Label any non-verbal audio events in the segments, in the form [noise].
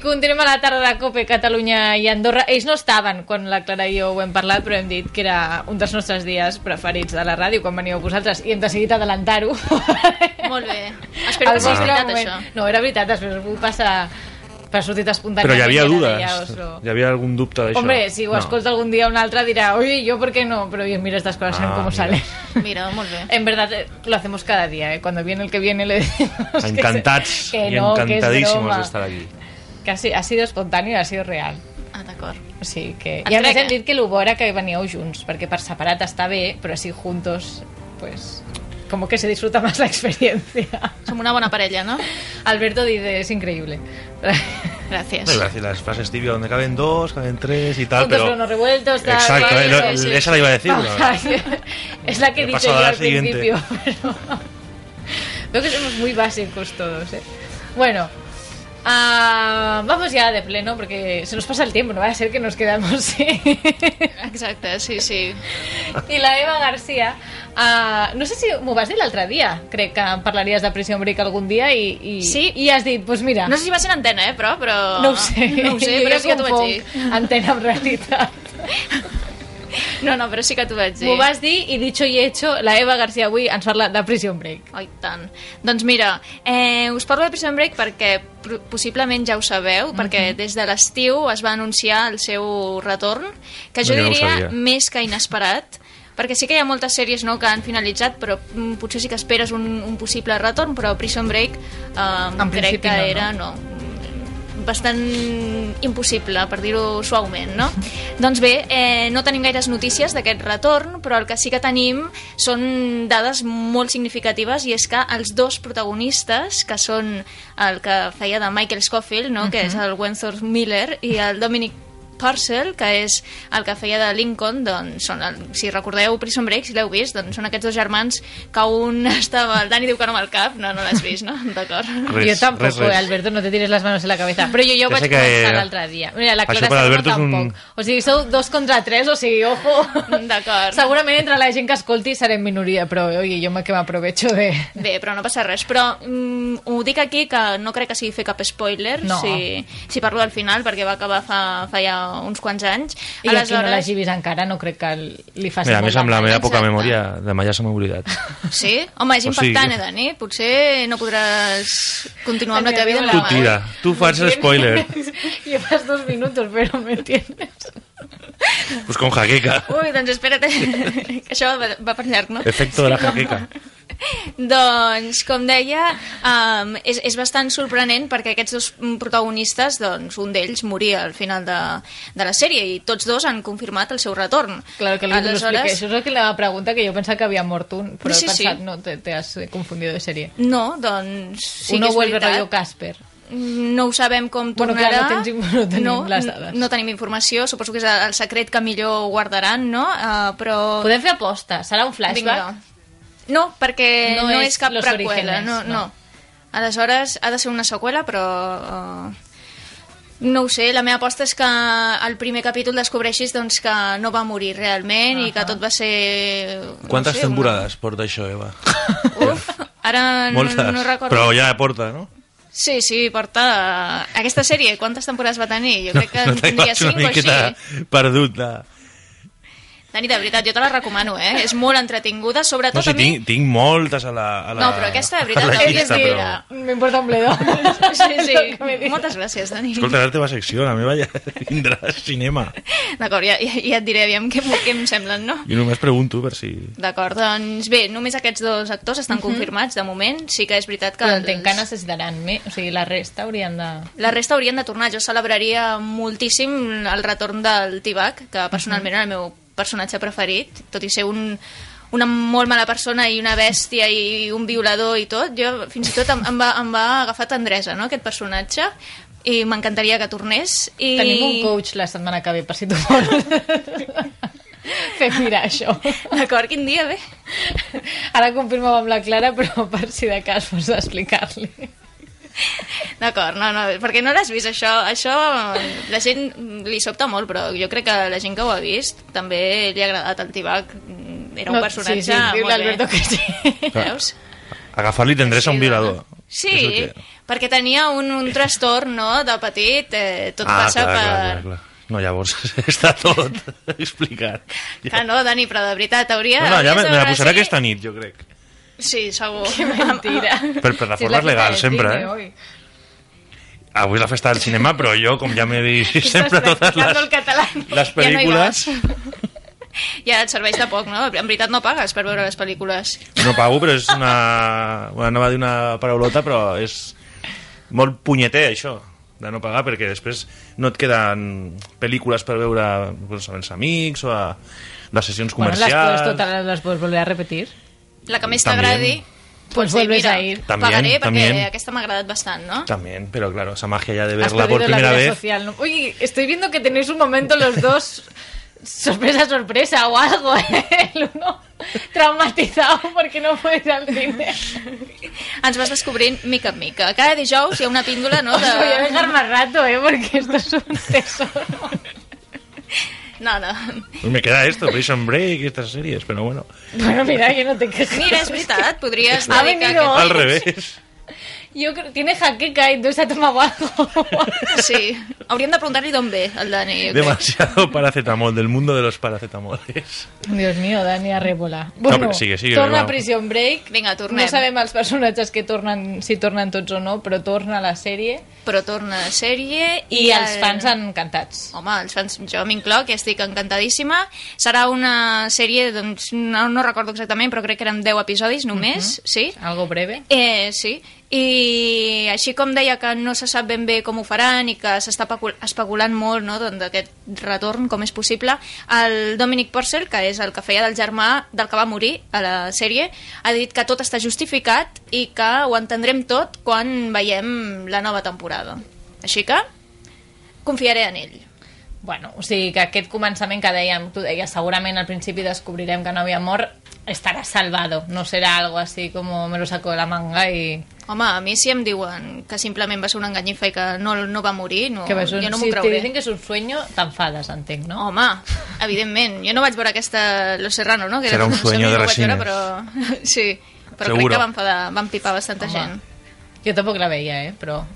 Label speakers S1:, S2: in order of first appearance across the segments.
S1: continuem a la tarda de COPE Catalunya i Andorra. Ells no estaven quan la Clara i jo ho hem parlat, però hem dit que era un dels nostres dies preferits de la ràdio quan veníeu vosaltres i hem decidit adelantar-ho. [laughs]
S2: Molt bé. Espero que
S1: Al vostre
S2: sigui Ah, veritat,
S1: moment.
S2: això.
S1: No, era veritat, després ho passa per sortit espontània.
S3: Però hi havia
S1: Era de
S3: dudes.
S1: Lleos, no.
S3: Hi havia algun dubte d'això.
S1: Hombre, si ho
S3: No.
S1: escolta [laughs] algún día un altra dirá, oye, yo por qué no, pero oye, mira estas cosas,
S3: Ah,
S1: ¿no? cómo
S3: mira.
S1: salen.
S2: Mira, molt bé.
S1: En verdad eh, lo hacemos cada día, ¿eh? cuando viene el que viene le
S3: [laughs]
S1: decimos que se-
S3: Encantats
S1: que,
S3: i
S1: no, que es
S3: encantadíssimos
S1: broma.
S3: d'estar aquí.
S1: Que ha, si- ha sido espontáneo, ha sido real.
S2: Ah, d'acord.
S1: O sigui que...
S2: Et
S1: I a més hem
S2: crec, eh?
S1: dit que el bo era que veníeu junts, perquè per separat està bé, però si juntos, pues... Como que se disfruta [laughs] más la experiencia.
S2: Som una bona parella, no?
S1: Alberto dice, es increíble.
S2: Gràcies.
S3: No, iba a decir las frases típicas donde caben dos, caben tres y tal,
S1: Juntos
S3: pero...
S1: pero no revueltos, tal,
S3: Exacto,
S1: cual,
S3: eh,
S1: no
S3: lo-
S1: sé, sí.
S3: esa la iba a decir.
S1: Vamos
S3: pero-
S1: a ver. es la que he
S3: He
S1: dicho
S3: pasado
S1: yo
S3: a la
S1: al
S3: siguiente.
S1: principio. [laughs] pero- Veo que somos muy básicos todos, ¿eh? Bueno, ah, vamos ya de pleno porque se nos pasa el tiempo, no va a ser que nos quedamos [laughs] sin-
S2: Exacte, sí, sí.
S1: I la Eva García, ah, no sé si m'ho vas dir l'altre dia, crec que em parlaries de Prison Break algun dia i, i,
S2: Sí.
S1: i has dit, doncs mira,
S2: No sé si va ser en antena, eh, però... però...
S1: no ho sé,
S2: No ho sé,
S1: jo
S2: però
S1: ja
S2: sí que t'ho vaig dir.
S1: confonc antena amb realitat.
S2: No, no, però sí que t'ho vaig dir.
S1: M'ho vas dir i dicho i hecho, la Eva García avui ens parla de Prison Break.
S2: Oi, tant. Doncs mira, eh, us parlo de Prison Break perquè pro- possiblement ja ho sabeu, perquè des de l'estiu es va anunciar el seu retorn, que jo
S3: No, jo no ho
S2: diria
S3: sabia.
S2: més que inesperat, perquè sí que hi ha moltes sèries no, que han finalitzat, però mm, potser sí que esperes un, un possible retorn, però Prison Break eh,
S1: En
S2: crec
S1: principi
S2: que
S1: no, no.
S2: era... No, bastant impossible, per dir-ho suaument, no? doncs bé, eh, no tenim gaires notícies d'aquest retorn, però el que sí que tenim són dades molt significatives i és que els dos protagonistes, que són el que feia de Michael Scofield, no? que és el Wentworth Miller, i el Dominic Purcell, que és el que feia de Lincoln, doncs, són el, si recordeu Prison Break, si l'heu vist, doncs són aquests dos germans que un [laughs] estava... El Dani diu que no amb el cap, no, no l'has vist, no? D'acord.
S3: Res,
S1: yo tampoco,
S3: res, res.
S1: eh, Alberto, no te tires las manos en la cabeza. Pero yo, yo
S3: Ja
S1: vaig
S3: sé que-
S1: comentar l'altre dia. Mira, la
S3: Això
S1: Clara
S3: per
S1: Serrano
S3: Alberto és un-
S1: tampoc. O sigui, sou dos contra tres, o sigui, ojo.
S2: D'acord.
S1: Segurament entre la gent que escolti serem minoria, però, oye, jo me que m'aprovecho de...
S2: Bé, però no passa res. Però mm, ho dic aquí que no crec que sigui fer cap spoiler
S1: No.
S2: si, si parlo del final, perquè va acabar fa, fa ja uns quants anys.
S1: I Aleshores... aquí no l'hagi vist encara, no crec que li faci
S3: Mira, a
S1: molt
S3: més amb la
S1: mal.
S3: meva poca
S2: Exacte.
S3: memòria, demà ja se m'ha
S1: [laughs]
S3: oblidat.
S2: Sí? Home, és
S3: O sigui-
S2: impactant, eh, Dani? Potser no podràs continuar amb la teva vida
S1: Tu
S2: amb
S3: Tu
S1: Demà,
S2: la
S1: eh?
S3: tira, tu fas el
S1: [laughs]
S3: spoiler.
S1: Llevas dos minutos, pero me entiendes.
S3: Pues con jaqueca.
S1: [laughs]
S2: Ui, doncs espera't, [laughs] que això va, va per llarg, no?
S3: Efecto de la jaqueca.
S2: Doncs, com deia, um, és, és bastant sorprenent perquè aquests dos mm, protagonistes, doncs, un d'ells moria al final de, de la sèrie i tots dos han confirmat el seu retorn.
S1: Claro que lo, lo expliqué. Eso es lo que la pregunta que yo pensaba que había muerto un, pero
S2: Sí,
S1: he
S2: sí.
S1: pensado, no, te, te has eh, confundido de serie.
S2: No, doncs... Sí
S1: Uno
S2: que és
S1: vuelve
S2: veritat.
S1: rollo Casper.
S2: No ho sabem com
S1: Bueno,
S2: tornarà.
S1: clar, no tens- no tenim les dades.
S2: No, no tenim informació, suposo que és el secret que millor guardaran, no? Uh, però...
S1: Podem fer aposta, serà un flashback?
S2: Vinga. No, perquè
S1: No
S2: no, no
S1: és
S2: és, cap
S1: Los
S2: preqüela.
S1: Orígenes,
S2: No, no.
S1: no.
S2: Aleshores, ha de ser una seqüela, però... eh, no ho sé, la meva aposta és que al primer capítol descobreixis doncs, que no va morir realment i que tot va ser...
S3: Quantes
S2: no sé,
S3: temporades porta això, Eva?
S2: Una... Uf, ara no,
S3: Moltes,
S2: no recordo.
S3: però ja porta, no?
S2: Sí, sí, porta... eh, Aquesta sèrie, quantes temporades va tenir? Jo crec que
S3: [laughs] no
S2: en tindria
S3: t'has una
S1: pues
S2: 5 o així.
S3: miqueta perdut. De...
S2: Dani, de veritat, jo te la recomano, eh? És molt entretinguda, sobretot
S3: No sé,
S2: a mi...
S3: tinc, tinc moltes a la, a la...
S2: No, però aquesta, de
S3: a la
S2: veritat,
S1: Ell
S3: llista,
S1: decía,
S3: però...
S1: me importa un bledo.
S2: Sí,
S1: [laughs] És el que me
S2: sí.
S1: diu.
S2: Moltes gràcies, Dani.
S3: Escolta, la teva secció, la meva ja [laughs] tindrà cinema.
S2: D'acord, ja, ja, ja et diré aviam què, què em semblen, no?
S3: Jo només pregunto per si...
S2: D'acord, doncs bé, només aquests dos actors estan confirmats de moment, sí que és veritat que...
S1: Però
S2: els-
S1: Mhm. entenc que necessitaran més, o sigui, la resta haurien de...
S2: La resta haurien de tornar. Jo celebraria moltíssim el retorn del Tibac, que personalment era el meu personatge preferit, tot i ser un, una molt mala persona i una bèstia i un violador i tot. Jo, fins i tot, em, em, va, em va agafar tendresa, no?, aquest personatge, i m'encantaria que tornés. I...
S1: Tenim un coach la setmana que ve, per si tu
S2: [laughs]
S1: vols. Fem mirar això.
S2: D'acord, quin dia, bé?
S1: Ara confirmem amb la Clara, però [laughs] per si de cas fos d'explicar-li.
S2: D'acord, no, no, perquè no l'has vist això, això la gent li sobta molt, però jo crec que la gent que ho ha vist també li ha agradat el Tibac, Mm, era un
S1: No,
S2: personatge
S1: sí, sí, diu
S2: molt bé.
S1: l'Alberto que sí. [laughs]
S2: Veus?
S3: Agafar-li tendresa a un violador.
S2: Sí,
S3: És el que-
S2: perquè tenia un, un trastorn no, de petit, eh, tot
S3: ah,
S2: passa
S3: clar,
S2: per...
S3: clar, clar, clar. No, llavors [laughs] està tot [laughs] explicat.
S2: Clar, no, Dani, però de veritat hauria...
S3: No, no, ja
S2: hauries
S3: me,
S2: de
S3: me la
S2: veure
S3: posaré
S2: si-
S3: aquesta nit, jo crec.
S2: Sí, segur.
S1: Qué
S2: [laughs]
S1: mentira.
S3: Per plataformes legals, sempre, eh? Avui és la festa del cinema, però jo, com ja m'he vist sempre totes
S1: el
S3: les,
S1: català.
S3: les
S2: Ja no hi
S3: pel·lícules...
S2: [laughs] Ja et serveix de poc, no? En veritat no pagues per veure les pel·lícules.
S3: No pago, però és una... Bueno, anava a dir una paraulota, però és molt punyeter, això, de no pagar, perquè després no et queden pel·lícules per veure doncs, amb els amics o a les sessions
S1: Bueno, las puedes,
S3: comercials...
S1: total, las puedes volver a repetir.
S2: La que més
S3: També.
S2: t'agradi...
S1: Pues
S2: dir,
S1: vuelves
S2: mira,
S1: a ir.
S3: També,
S2: pagaré perquè
S3: també.
S2: aquesta m'ha agradat bastant, no?
S3: També, però claro, esa magia ya de
S1: Has
S3: verla por
S1: perdido la
S3: primera
S1: vida
S3: vez...
S1: social, ¿no? Oye, estoy viendo que tenéis un momento los dos [laughs] sorpresa, sorpresa o algo, ¿eh? El uno traumatizado porque no puede ir al cine.
S2: Ens vas descobrint mica en mica. Cada dijous hi ha una píndola, no?
S1: [laughs] Os voy a
S2: De...
S1: dejar más rato, ¿eh? Porque esto es un
S2: [laughs]
S1: tesoro.
S2: No, no.
S3: Pues me queda esto, Prison Break y estas series, pero bueno,
S1: Bueno, mira, yo no te quejo.
S2: Mira, és veritat, podries
S1: Ha
S2: dedicar...
S1: venido
S2: aquest-
S1: [laughs]
S3: al revés.
S1: Yo creo, tiene jaqueca y entonces ha tomado algo.
S2: Sí. Hauríem de preguntar-li d'on ve el Dani. jo crec.
S3: Demasiado paracetamol, del mundo de los paracetamoles.
S1: [laughs] Dios mío, Dani Arrebola.
S3: però
S1: Bueno,
S3: sigue, sigue,
S1: torna
S3: va.
S1: a Prison Break.
S2: Vinga, tornem.
S1: No sabem els personatges que tornen, si tornen tots o no, però torna la sèrie
S2: Però torna a la sèrie
S1: i, els fans
S2: en...
S1: encantats.
S2: Home, els fans, jo m'incloc i estic encantadíssima. Serà una sèrie, doncs, no, no recordo exactament, però crec que eren 10 episodis només,
S1: Mhm.
S2: sí?
S1: Algo breve.
S2: Eh, sí, i així com deia que no se sap ben bé com ho faran i que s'està pecul- especulant molt no, doncs, d'aquest retorn, com és possible, el Dominic Purcell, que és el que feia del germà del que va morir a la sèrie, ha dit que tot està justificat i que ho entendrem tot quan veiem la nova temporada. Així que confiaré en ell.
S1: Bueno, o sigui que aquest començament que dèiem, tu deies, segurament al principi descobrirem que no havia mort, estarà salvado, no serà algo así como me lo saco de la manga y...
S2: Home, a mi si em diuen que simplement va ser una enganyifa i que no, no va morir, no,
S1: que ves un,
S2: jo no m'ho
S1: si te
S2: creuré.
S1: dicen que és un sueño, t'enfades, entenc, no?
S2: Home, evidentment. Jo no vaig veure aquesta Los Serrano, no? Que
S3: Serà un sueño de
S2: Resines.
S3: Resines.
S2: Però... [laughs] Sí, però
S3: Seguro.
S2: crec que va enfadar, va empipar bastanta
S1: Home.
S2: gent.
S1: Yo tampoco la veía, ¿eh? Pero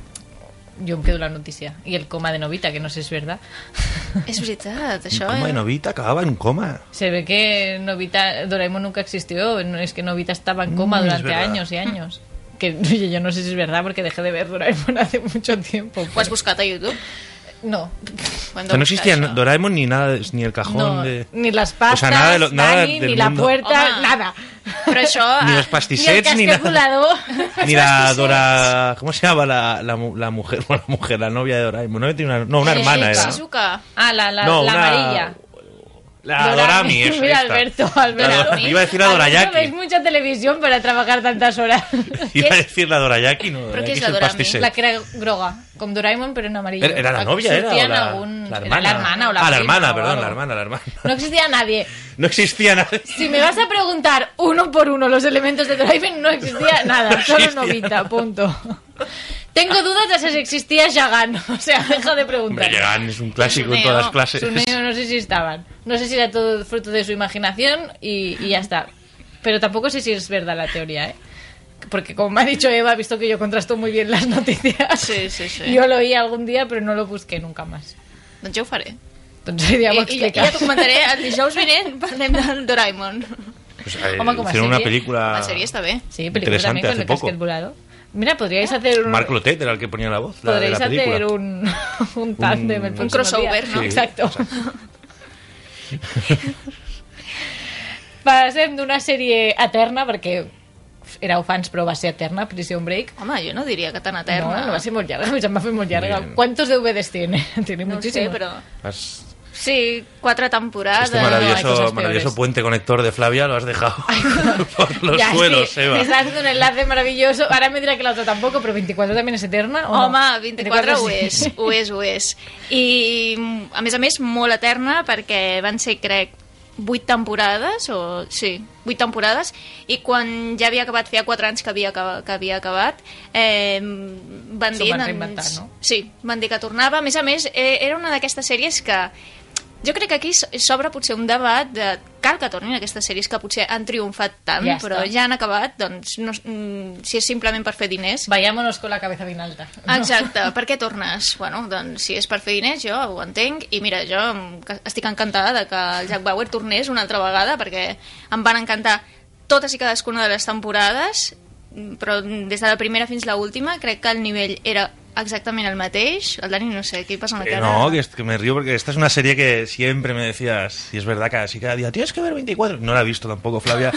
S1: yo me quedo la noticia. Y el coma de Novita, que no sé si es verdad. [laughs]
S2: És veritat,
S3: Un
S2: això...
S3: coma de
S2: eh?
S3: novita acababa en coma.
S1: Se ve que Novita, Doraemon nunca existió. No, Es que Novita estaba en coma
S3: Mm, es
S1: durante
S3: verdad.
S1: años y años. Que oye, yo no sé si es verdad porque dejé de ver Doraemon [laughs] hace mucho tiempo.
S2: Ho has
S1: pero-
S2: buscat a YouTube?
S1: No,
S2: Ho hem de
S3: O sea, no
S2: buscar,
S3: existía
S2: això.
S3: Doraemon ni nada, de- ni el cajón
S1: no,
S3: de...
S1: ni las pastas,
S3: O sea, nada de lo- nada
S1: Dani,
S3: del
S1: ni la
S3: mundo.
S1: puerta,
S2: Home.
S1: nada. [laughs]
S2: Però això...
S3: [laughs]
S2: eh,
S3: Ni los
S1: Ni el
S3: pastisets, ni, nada.
S1: casqueculador.
S3: [laughs] [laughs]
S1: [laughs]
S3: Ni la Dora... ¿Cómo se llama la, la, mu- la mujer? [laughs] Bueno, la mujer, la novia de Doraemon. No, tiene una, no una
S2: Eh,
S3: hermana era.
S2: Shizuka.
S1: Ah, la, la,
S3: No,
S1: la
S3: una-
S1: amarilla.
S3: La
S1: Dorami.
S3: Dorami es
S1: [laughs] Mira,
S3: esta.
S1: Alberto,
S3: La
S1: Alberto.
S3: Dora- [laughs] Iba a decir la
S1: Alberto,
S3: Dorayaki.
S1: veis mucha televisión para trabajar tantas horas.
S3: Iba a decir la Dorayaki, no.
S2: Però què és
S3: Dorayaki és
S2: la
S3: el
S2: Dorami?
S3: pastisset.
S1: La que era groga, con Doraemon, pero en amarillo.
S3: Era, era la novia, era,
S1: Surtían
S3: o la,
S1: algún-
S3: la
S1: era
S3: hermana.
S1: la hermana o la
S3: Ah, la
S1: prima
S3: hermana,
S1: o
S3: perdón,
S1: algo.
S3: la hermana, la hermana.
S1: No existía nadie.
S3: [laughs] No
S1: [laughs]
S3: existía nadie.
S1: Si me vas a preguntar uno por uno los elementos de Doraemon, no
S3: [laughs]
S1: existía nada,
S3: No
S1: solo
S3: existía
S1: Novita, punto. Tengo dudas de si existía Shagan, [laughs] o sea, deja de
S3: Hombre,
S1: preguntar.
S3: llegan, es un clásico en
S2: Suneo.
S3: todas las clases.
S1: Su niño no sé si estaban, no sé si era todo fruto de su imaginación y, y ya está. Pero tampoco sé si es verdad la teoría, ¿eh? Porque como me ha dicho Eva, ha visto que yo contrasto muy bien las noticias.
S2: Sí, sí, sí.
S1: Yo lo oí algún día, pero no lo busqué nunca más.
S2: Doncs jo ho faré.
S1: Entonces, ya
S2: I,
S1: m'ho
S2: i, i ja t'ho comentaré el dijous vinent,
S1: [laughs]
S2: parlem del Doraemon.
S3: Pues, eh,
S1: Home, com a
S3: hicieron una
S1: serie.
S3: película.
S2: La sèrie està bé.
S1: Sí, película
S3: Interesante,
S1: también con
S3: hace
S1: el
S3: poco.
S1: casquet volado. Mira, podríais hacer un...
S3: Marc Lotet era el que ponía la voz. La, de
S1: podríais
S3: la película.
S1: hacer un, [laughs] un tándem el
S3: Un
S1: próximo
S2: crossover,
S1: día.
S2: ¿no?
S3: Sí,
S1: exacto. [laughs] Passem d'una sèrie eterna, perquè éreu fans però va ser eterna, Prison Break.
S2: Home, jo no diria que tan eterna.
S1: No, no va ser molt llarga, se'm va fer molt llarga.
S3: Bien.
S1: ¿Cuántos DVDs tiene? [laughs] Tiene
S2: no ho sé,
S1: muchísimos.
S2: però...
S3: Has-
S2: Sí, quatre temporades.
S3: Este
S1: Ah, no, hay
S3: maravilloso,
S1: cosas
S3: maravilloso
S1: peores.
S3: puente conector de Flavia lo has dejado [laughs] por los
S1: Ya, es que
S3: suelos, Eva. Eh,
S1: Me estás haciendo un enlace maravilloso. Ahora me dirá que la otra tampoco, pero 24 también es eterna. ¿o no?
S2: Home, 24 ho
S1: sí.
S2: és, ho és, ho és. I, a més a més, molt eterna, perquè van ser, crec, 8 temporades, o... Sí, 8 temporades, i quan ja havia acabat, feia 4 anys que havia, acaba- que havia acabat, eh, van
S1: S'ho
S2: dir...
S1: van reinventar, no?
S2: e, Sí, van dir que tornava. A més a més, eh, era una d'aquestes sèries que Jo crec que aquí s- s'obre potser un debat de cal que tornin aquestes sèries que potser han triomfat tant,
S1: Ja
S2: ja
S1: està.
S2: però ja han acabat, doncs no, s- mm, si és simplement per fer diners...
S1: [laughs] Vayámonos con la cabeza bien alta. No.
S2: Exacte, per què tornes? Bueno, doncs si és per fer diners jo ho entenc i mira, jo em- que- estic encantada de que el Jack Bauer tornés una altra vegada perquè em van encantar totes i cadascuna de les temporades mm, però des de la primera fins la última crec que el nivell era exactament el mateix. El Dani no sé, aquí passa una
S3: Eh,
S2: cara...
S3: no, que, es- que me río porque esta es una serie que siempre me decías, y es verdad, casi cada día, tienes que ver 24. No la he visto tampoco,
S1: [laughs]
S3: Flavia.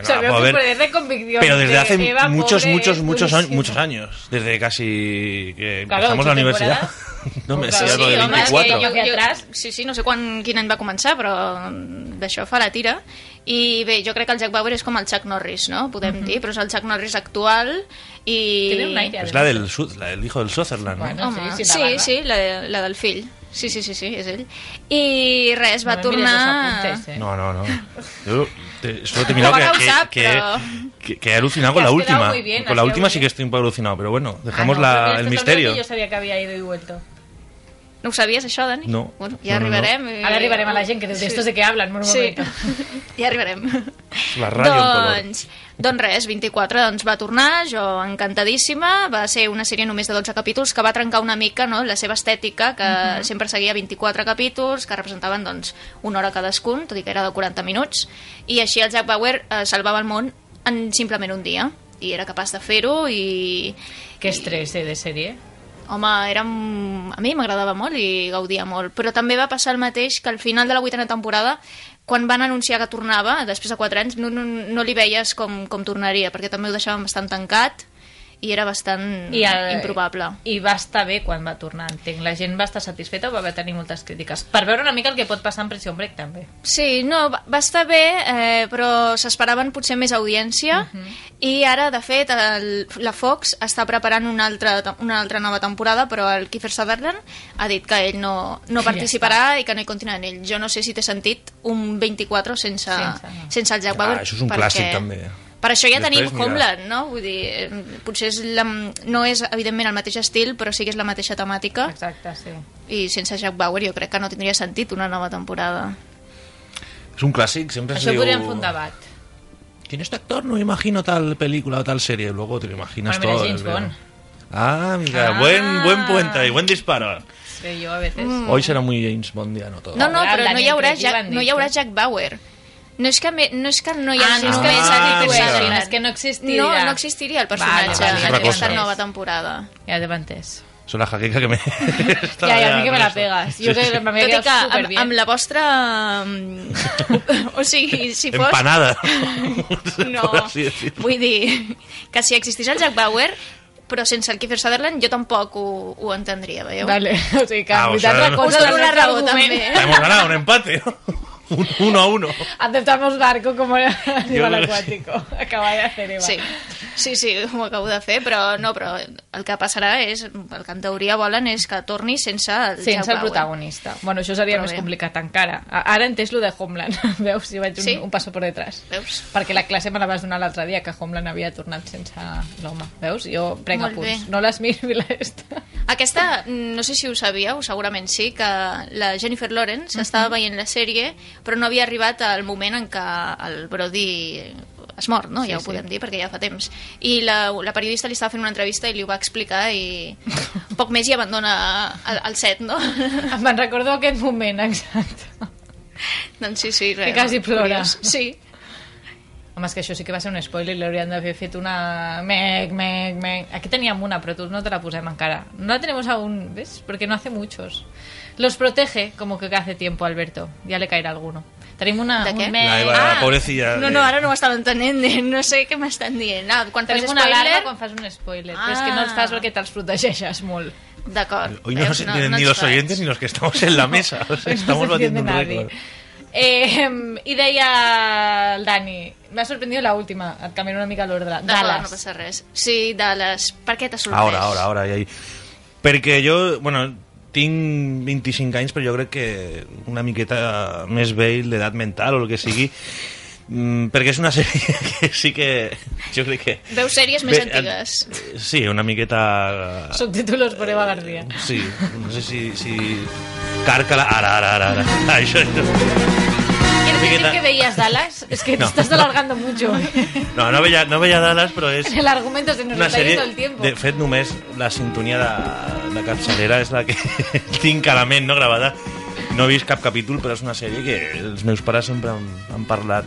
S1: O sea,
S3: No,
S1: veo
S3: puedo
S1: tu
S3: ver.
S1: poder de convicción.
S3: Pero desde
S1: de
S3: hace
S1: Eva,
S3: muchos,
S1: pobre, pues,
S3: muchos,
S1: es
S3: muchos, años,
S1: durísimo.
S3: muchos años. Desde casi que
S1: Claro,
S3: empezamos
S1: ocho
S3: la universidad.
S1: temporadas.
S3: [laughs] no me
S1: Claro,
S3: sé,
S1: sí,
S3: lo de
S1: home,
S2: és que
S3: 24.
S1: yo-
S2: jo- jo-
S1: Atrás.
S2: Sí, sí, no sé quan, quin any va començar, però mm, d'això fa la tira. I bé, jo crec que el Jack Bauer és com el Chuck Norris, no? Podem dir, però és el Chuck Norris actual i...
S1: Mhm. Tiene un aire.
S3: Es la del, Sud- la del hijo del Sutherland. ¿no?
S1: Bueno.
S2: Home,
S1: Sí,
S2: sí,
S1: sí, la
S2: sí,
S1: barba.
S2: sí la, de, la del fill. Sí, sí, sí, sí, és ell. I res, va
S1: No me mires los
S2: tornar...
S1: apuntes, eh.
S3: No,
S1: [laughs]
S3: no, no. Yo te- solo te he mirado
S2: Ahora
S3: que,
S2: usa,
S3: que,
S2: pero-
S3: que- que- que he alucinado con
S1: Te
S3: la
S1: has quedado
S3: última.
S1: muy bien, has
S3: con la
S1: quedado
S3: última
S1: muy
S3: sí que
S1: bien.
S3: estoy un poco alucinado, pero bueno, dejamos
S1: Ah, no,
S3: la-
S1: pero esto
S3: el
S1: es
S3: misterio.
S1: otro que Yo sabía que había ido y vuelto.
S2: No ho sabies, això, Dani?
S3: No.
S2: Bueno, ja
S3: No, no, no.
S2: arribarem. i-
S1: Ahora arribarem a la gent que de, de estos de que hablan en un
S2: Eh, Sí,
S1: momento.
S2: [laughs] ja arribarem.
S3: La ràdio en color.
S2: doncs, doncs res, 24 doncs va tornar, jo encantadíssima, va ser una sèrie només de 12 capítols que va trencar una mica no, la seva estètica, que
S1: Mhm.
S2: sempre seguia 24 capítols, que representaven doncs, una hora cadascun, tot i que era de 40 minuts, i així el Jack Bauer eh, salvava el món en simplement un dia, i era capaç de fer-ho, i...
S1: Qué estrés eh, de serie.
S2: Home, era... un- a mi m'agradava molt i gaudia molt, però també va passar el mateix que al final de la vuitena temporada, quan van anunciar que tornava, després de quatre anys, no, no, no li veies com, com tornaria, perquè també ho deixaven bastant tancat i era bastant
S1: I el-
S2: improbable.
S1: I Mm. va estar bé quan va tornar, entenc. La gent va estar satisfeta o va haver tenir moltes crítiques? Per veure una mica el que pot passar en Prison Break, també.
S2: Sí, no, va va estar bé, eh, però s'esperaven potser més audiència
S1: Mhm.
S2: i ara, de fet, el, la Fox està preparant una altra, te- una altra nova temporada, però el Kiefer Sutherland ha dit que ell no, no
S1: Que ja
S2: participarà i que no hi continuarà en ell. Jo no sé si té sentit un 24 sense,
S1: Sense,
S2: sense,
S1: no.
S2: sense el Jack
S3: Ah,
S2: Bauer.
S3: això és un
S2: perquè-
S3: clàssic, també.
S2: Per això ja
S3: Després,
S2: tenim
S3: mira.
S2: Homeland, no? Vull dir, eh, potser és la, no és, evidentment, el mateix estil, però sí que és la mateixa temàtica.
S1: Exacte, sí.
S2: I sense Jack Bauer jo crec que no tindria sentit una nova temporada.
S3: Es un clásico, siempre se
S1: Això podríem fer un
S3: fundaba.
S1: debat.
S3: ¿Quién este actor? No me imagino tal película o tal serie. Luego te lo imaginas
S1: Bueno, mira,
S3: todo.
S1: James
S3: el-
S1: Bond.
S3: Ah, mira,
S1: Ah. Mm.
S3: buen, buen puente y buen disparo.
S1: Sí, jo a veces...
S2: Mm.
S3: Hoy será muy James Bondiano todo.
S2: No, no,
S1: Haurà
S2: però no hi
S1: Daniel
S2: haurà
S1: Craig,
S2: Jack,
S1: van
S2: no hi
S1: dir,
S2: haurà
S1: sí.
S2: Jack Bauer. No és que, me, no és que no hi
S1: Ah,
S2: hagi
S1: no és
S3: Ah,
S1: que és
S3: mira.
S1: Kiefer Sutherland,
S3: Mira.
S1: és que no existirà.
S2: No, no existiria el personatge
S1: Vale, vale,
S2: en
S3: Otra
S2: aquesta
S3: cosa.
S2: nova temporada.
S1: Ja t'he entès.
S3: Son la jaqueca que me. [laughs] Está
S1: Ja, ja, a mi
S3: ya
S1: que me la
S3: con
S1: pegas.
S3: eso.
S1: Jo
S3: Sí,
S1: que
S3: sí.
S1: me
S2: Tot i
S1: quedat
S2: que amb,
S1: superbien.
S2: amb la vostra...
S1: [laughs]
S2: mm, o sigui, si fos...
S3: Empanada. [laughs]
S1: [laughs]
S2: No,
S3: Por así decirlo.
S2: vull dir que si existís el Jack Bauer, però sense el Kiefer Sutherland jo tampoc ho, ho entendria, veieu?
S1: Vale, [laughs] o sigui que
S3: Ah,
S1: en
S3: o
S1: veritat
S3: sea,
S1: la
S3: no.
S1: cosa
S2: Us dono
S1: del
S2: la
S1: nostre
S2: raó,
S1: argument.
S2: també.
S3: Hemos ganado un empate. ¿no? [laughs] Un- Uno a uno.
S1: Aceptamos barco como
S3: [laughs]
S1: animal
S3: creo que
S1: acuático. [laughs] Acaba de hacer Eva.
S2: Sí, sí, sí, ho acabo de fer, però no, però el que passarà és, el que en teoria volen és que torni sense el Jack
S1: Sense el
S2: Bauer.
S1: protagonista. Bueno, això seria
S2: eh. Però
S1: més
S2: bé.
S1: complicat encara. A- Ara entès lo de Homeland. [laughs] Veus? Si vaig un,
S2: Sí.
S1: un passo per detrás.
S2: Veus?
S1: Perquè la classe me la vas donar l'altre dia, que Homeland havia tornat sense l'home. Veus? Jo prenc
S2: Molt
S1: apunts.
S2: bé.
S1: No les [laughs] miro i l'esta.
S2: Aquesta, no sé si ho sabíeu, segurament sí, que la Jennifer Lawrence estava veient la sèrie, però no havia arribat al moment en què el Brody es mor, no?
S1: Sí,
S2: ja ho
S1: sí.
S2: podem dir, perquè ja fa temps. I la, la periodista li estava fent una entrevista i li ho va explicar
S1: [laughs]
S2: i poc més i abandona el, el set, no? [laughs]
S1: Me'n recordo aquest moment, [laughs] exacte.
S2: doncs sí, sí, res.
S1: Que quasi plora.
S2: curiós. Sí.
S1: Home, és que això sí que va ser un spoiler, l'haurien d'haver fet una... Mec, mec, mec... Aquí teníem una, però tu no te la posem encara. No la tenemos aún, ¿ves? Porque no hace muchos. Los protege, como que hace tiempo, Alberto. Ya le caerá alguno. Tenim una...
S2: De què?
S1: Un mec...
S3: La Eva,
S1: ah,
S3: pobrecilla. eh,
S2: No, no, ara no ho estava entenent, no sé què m'estan dient. Ah, quan fas
S1: Tenim una
S2: spoiler...
S1: alarma quan fas un spoiler. Però és que no els
S2: Ah.
S1: fas perquè te'ls protegeixes molt.
S2: D'acord.
S3: Hoy
S2: veus?
S3: no nos entienden ni
S2: ens
S3: los
S2: faig.
S3: oyentes ni los que estamos en la mesa. O sea, Estamos
S1: no se entiende
S3: batiendo un
S1: nadie.
S3: récord.
S1: Eh, I deia el Dani, m'ha sorprendido la última, et canviaré una mica l'ordre.
S2: D'acord, no
S1: Dallas.
S2: passa res. Sí, Dallas. Per què t'ha sorprès?
S3: Ahora, ahora, ahora. Ja, hi- Perquè jo, bueno, tinc 25 anys, però jo crec que una miqueta més vell d'edat mental o el que sigui, mm, perquè és una sèrie [laughs] que sí que... Jo crec que...
S2: Veu sèries més
S3: Bé,
S2: antigues.
S3: eh, Sí, una miqueta...
S1: Subtítolos por Eva García.
S3: Sí, no sé si... si... Càrcala, ara, ara, ara, [laughs] ara. Això,
S1: ¿Quieres decir
S3: Piqueta.
S1: que veías Dallas? Es que te
S3: No.
S1: estás alargando
S3: [laughs]
S1: mucho.
S3: No, no veia, no veia Dallas, però és
S1: El argumento se nos
S3: una
S1: está
S3: sèrie...
S1: yendo el tiempo.
S3: De fet, només la sintonia de, de capçalera és la que [laughs] tinc a la ment, no, gravada. No he vist cap capítol, però és una sèrie que els meus pares sempre han, han parlat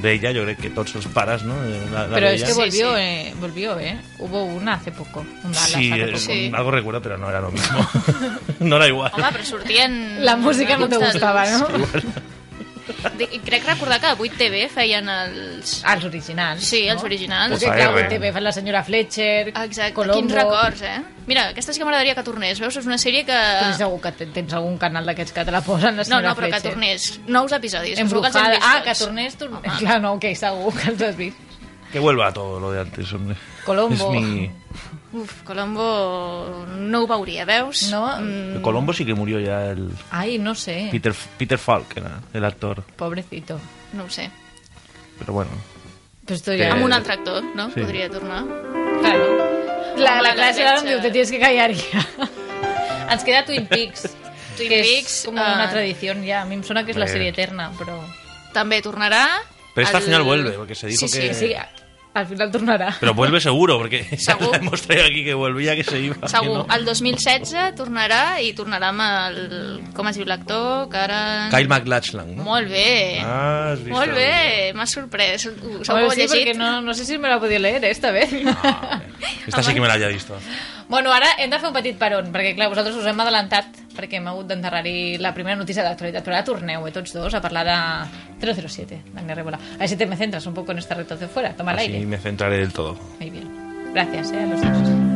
S3: d'ella, jo crec que tots els pares, no? La, la
S1: Pero es
S3: veien.
S1: que
S2: Sí,
S1: volvió,
S2: sí.
S1: eh, volvió, ¿eh? Hubo una hace poco, un Dallas
S3: Sí,
S1: hace
S3: eh,
S1: poco.
S2: Sí.
S3: algo recuerdo, pero no era lo mismo. [laughs] no era igual.
S1: Ah.
S2: Home, però sortien...
S1: La música no te
S2: alguns
S1: gustaba,
S2: dels-
S1: ¿no?
S2: De, crec recordar que a 8TV feien els...
S1: Ah, los originales.
S2: Sí, els originals.
S3: Pues
S1: Porque,
S3: ahí,
S1: claro,
S3: eh.
S1: te ve la señora Fletcher,
S2: Exacte,
S1: Colombo...
S2: quins records, eh? Mira, aquesta sí que m'agradaria que tornés, veus? És una sèrie que...
S1: Tens segur Pues que te- tens algun canal d'aquests que te la posen, la
S2: No,
S1: senyora
S2: no, però que
S1: Fletcher.
S2: tornés. Nous episodis. segur que els hem
S1: Embrujada.
S2: vist
S1: Ah, que
S2: tots.
S1: tornés... Tu...
S2: Home.
S1: [laughs] Clar, no, ok, segur que els has vist.
S3: Que vuelva todo lo de antes, hombre.
S1: Colombo.
S3: Es mi...
S2: Uf, Colombo no ho veuria, veus?
S1: No? Mm.
S3: De Colombo sí que murió ya el
S1: Ai, no sé.
S3: Peter, Peter Falk, era el actor.
S1: Pobrecito.
S2: No ho sé.
S3: Pero bueno.
S1: Però esto
S3: Que-
S1: ya...
S2: Amb un altre actor, no?
S3: Eh, Sí.
S2: Podria tornar.
S1: Claro. La, la clase era donde te tienes que callar ja. eh. [laughs] Ens queda Twin [laughs] Peaks.
S2: Twin
S1: que
S2: Peaks,
S1: és com
S2: eh,
S1: una tradició ja. A mi em sona que és la
S3: Bé.
S1: sèrie eterna, però...
S2: També tornarà...
S3: Pero esta al
S2: al-
S3: final vuelve, porque se dijo
S2: sí,
S3: que...
S1: Sí, sí, al final tornarà.
S3: Pero vuelve seguro, porque [laughs] ya
S2: Segur.
S3: la hemos traído aquí que volvía, que se iba.
S2: Segur,
S3: que no.
S2: el 2016 tornarà i tornarà amb el... com es diu l'actor, que ara...
S3: Kyle McLachlan, ¿no?
S2: Molt bé.
S3: Ah, has visto.
S2: Molt bé, m'ha sorprès. Ho- Segur que
S1: Bueno,
S2: ho he
S1: sí, perquè
S2: llegit.
S1: no, no sé si me la podia leer eh, esta vez.
S3: Ah, esta sí que me la haya visto.
S1: [laughs] Bueno, ara hem de fer un petit peron, perquè clar, vosaltres us hem adelantat, perquè hem hagut d'enterrar-hi la primera notícia d'actualitat, però ara torneu, eh, tots dos, a parlar de 007, d'Agnes Rebola. A ver
S3: Ah,
S1: si te me centras un poco en esta recta de fuera, toma el
S3: Así
S1: aire.
S3: me centraré del todo.
S1: Muy bien. Gracias, eh, a los dos.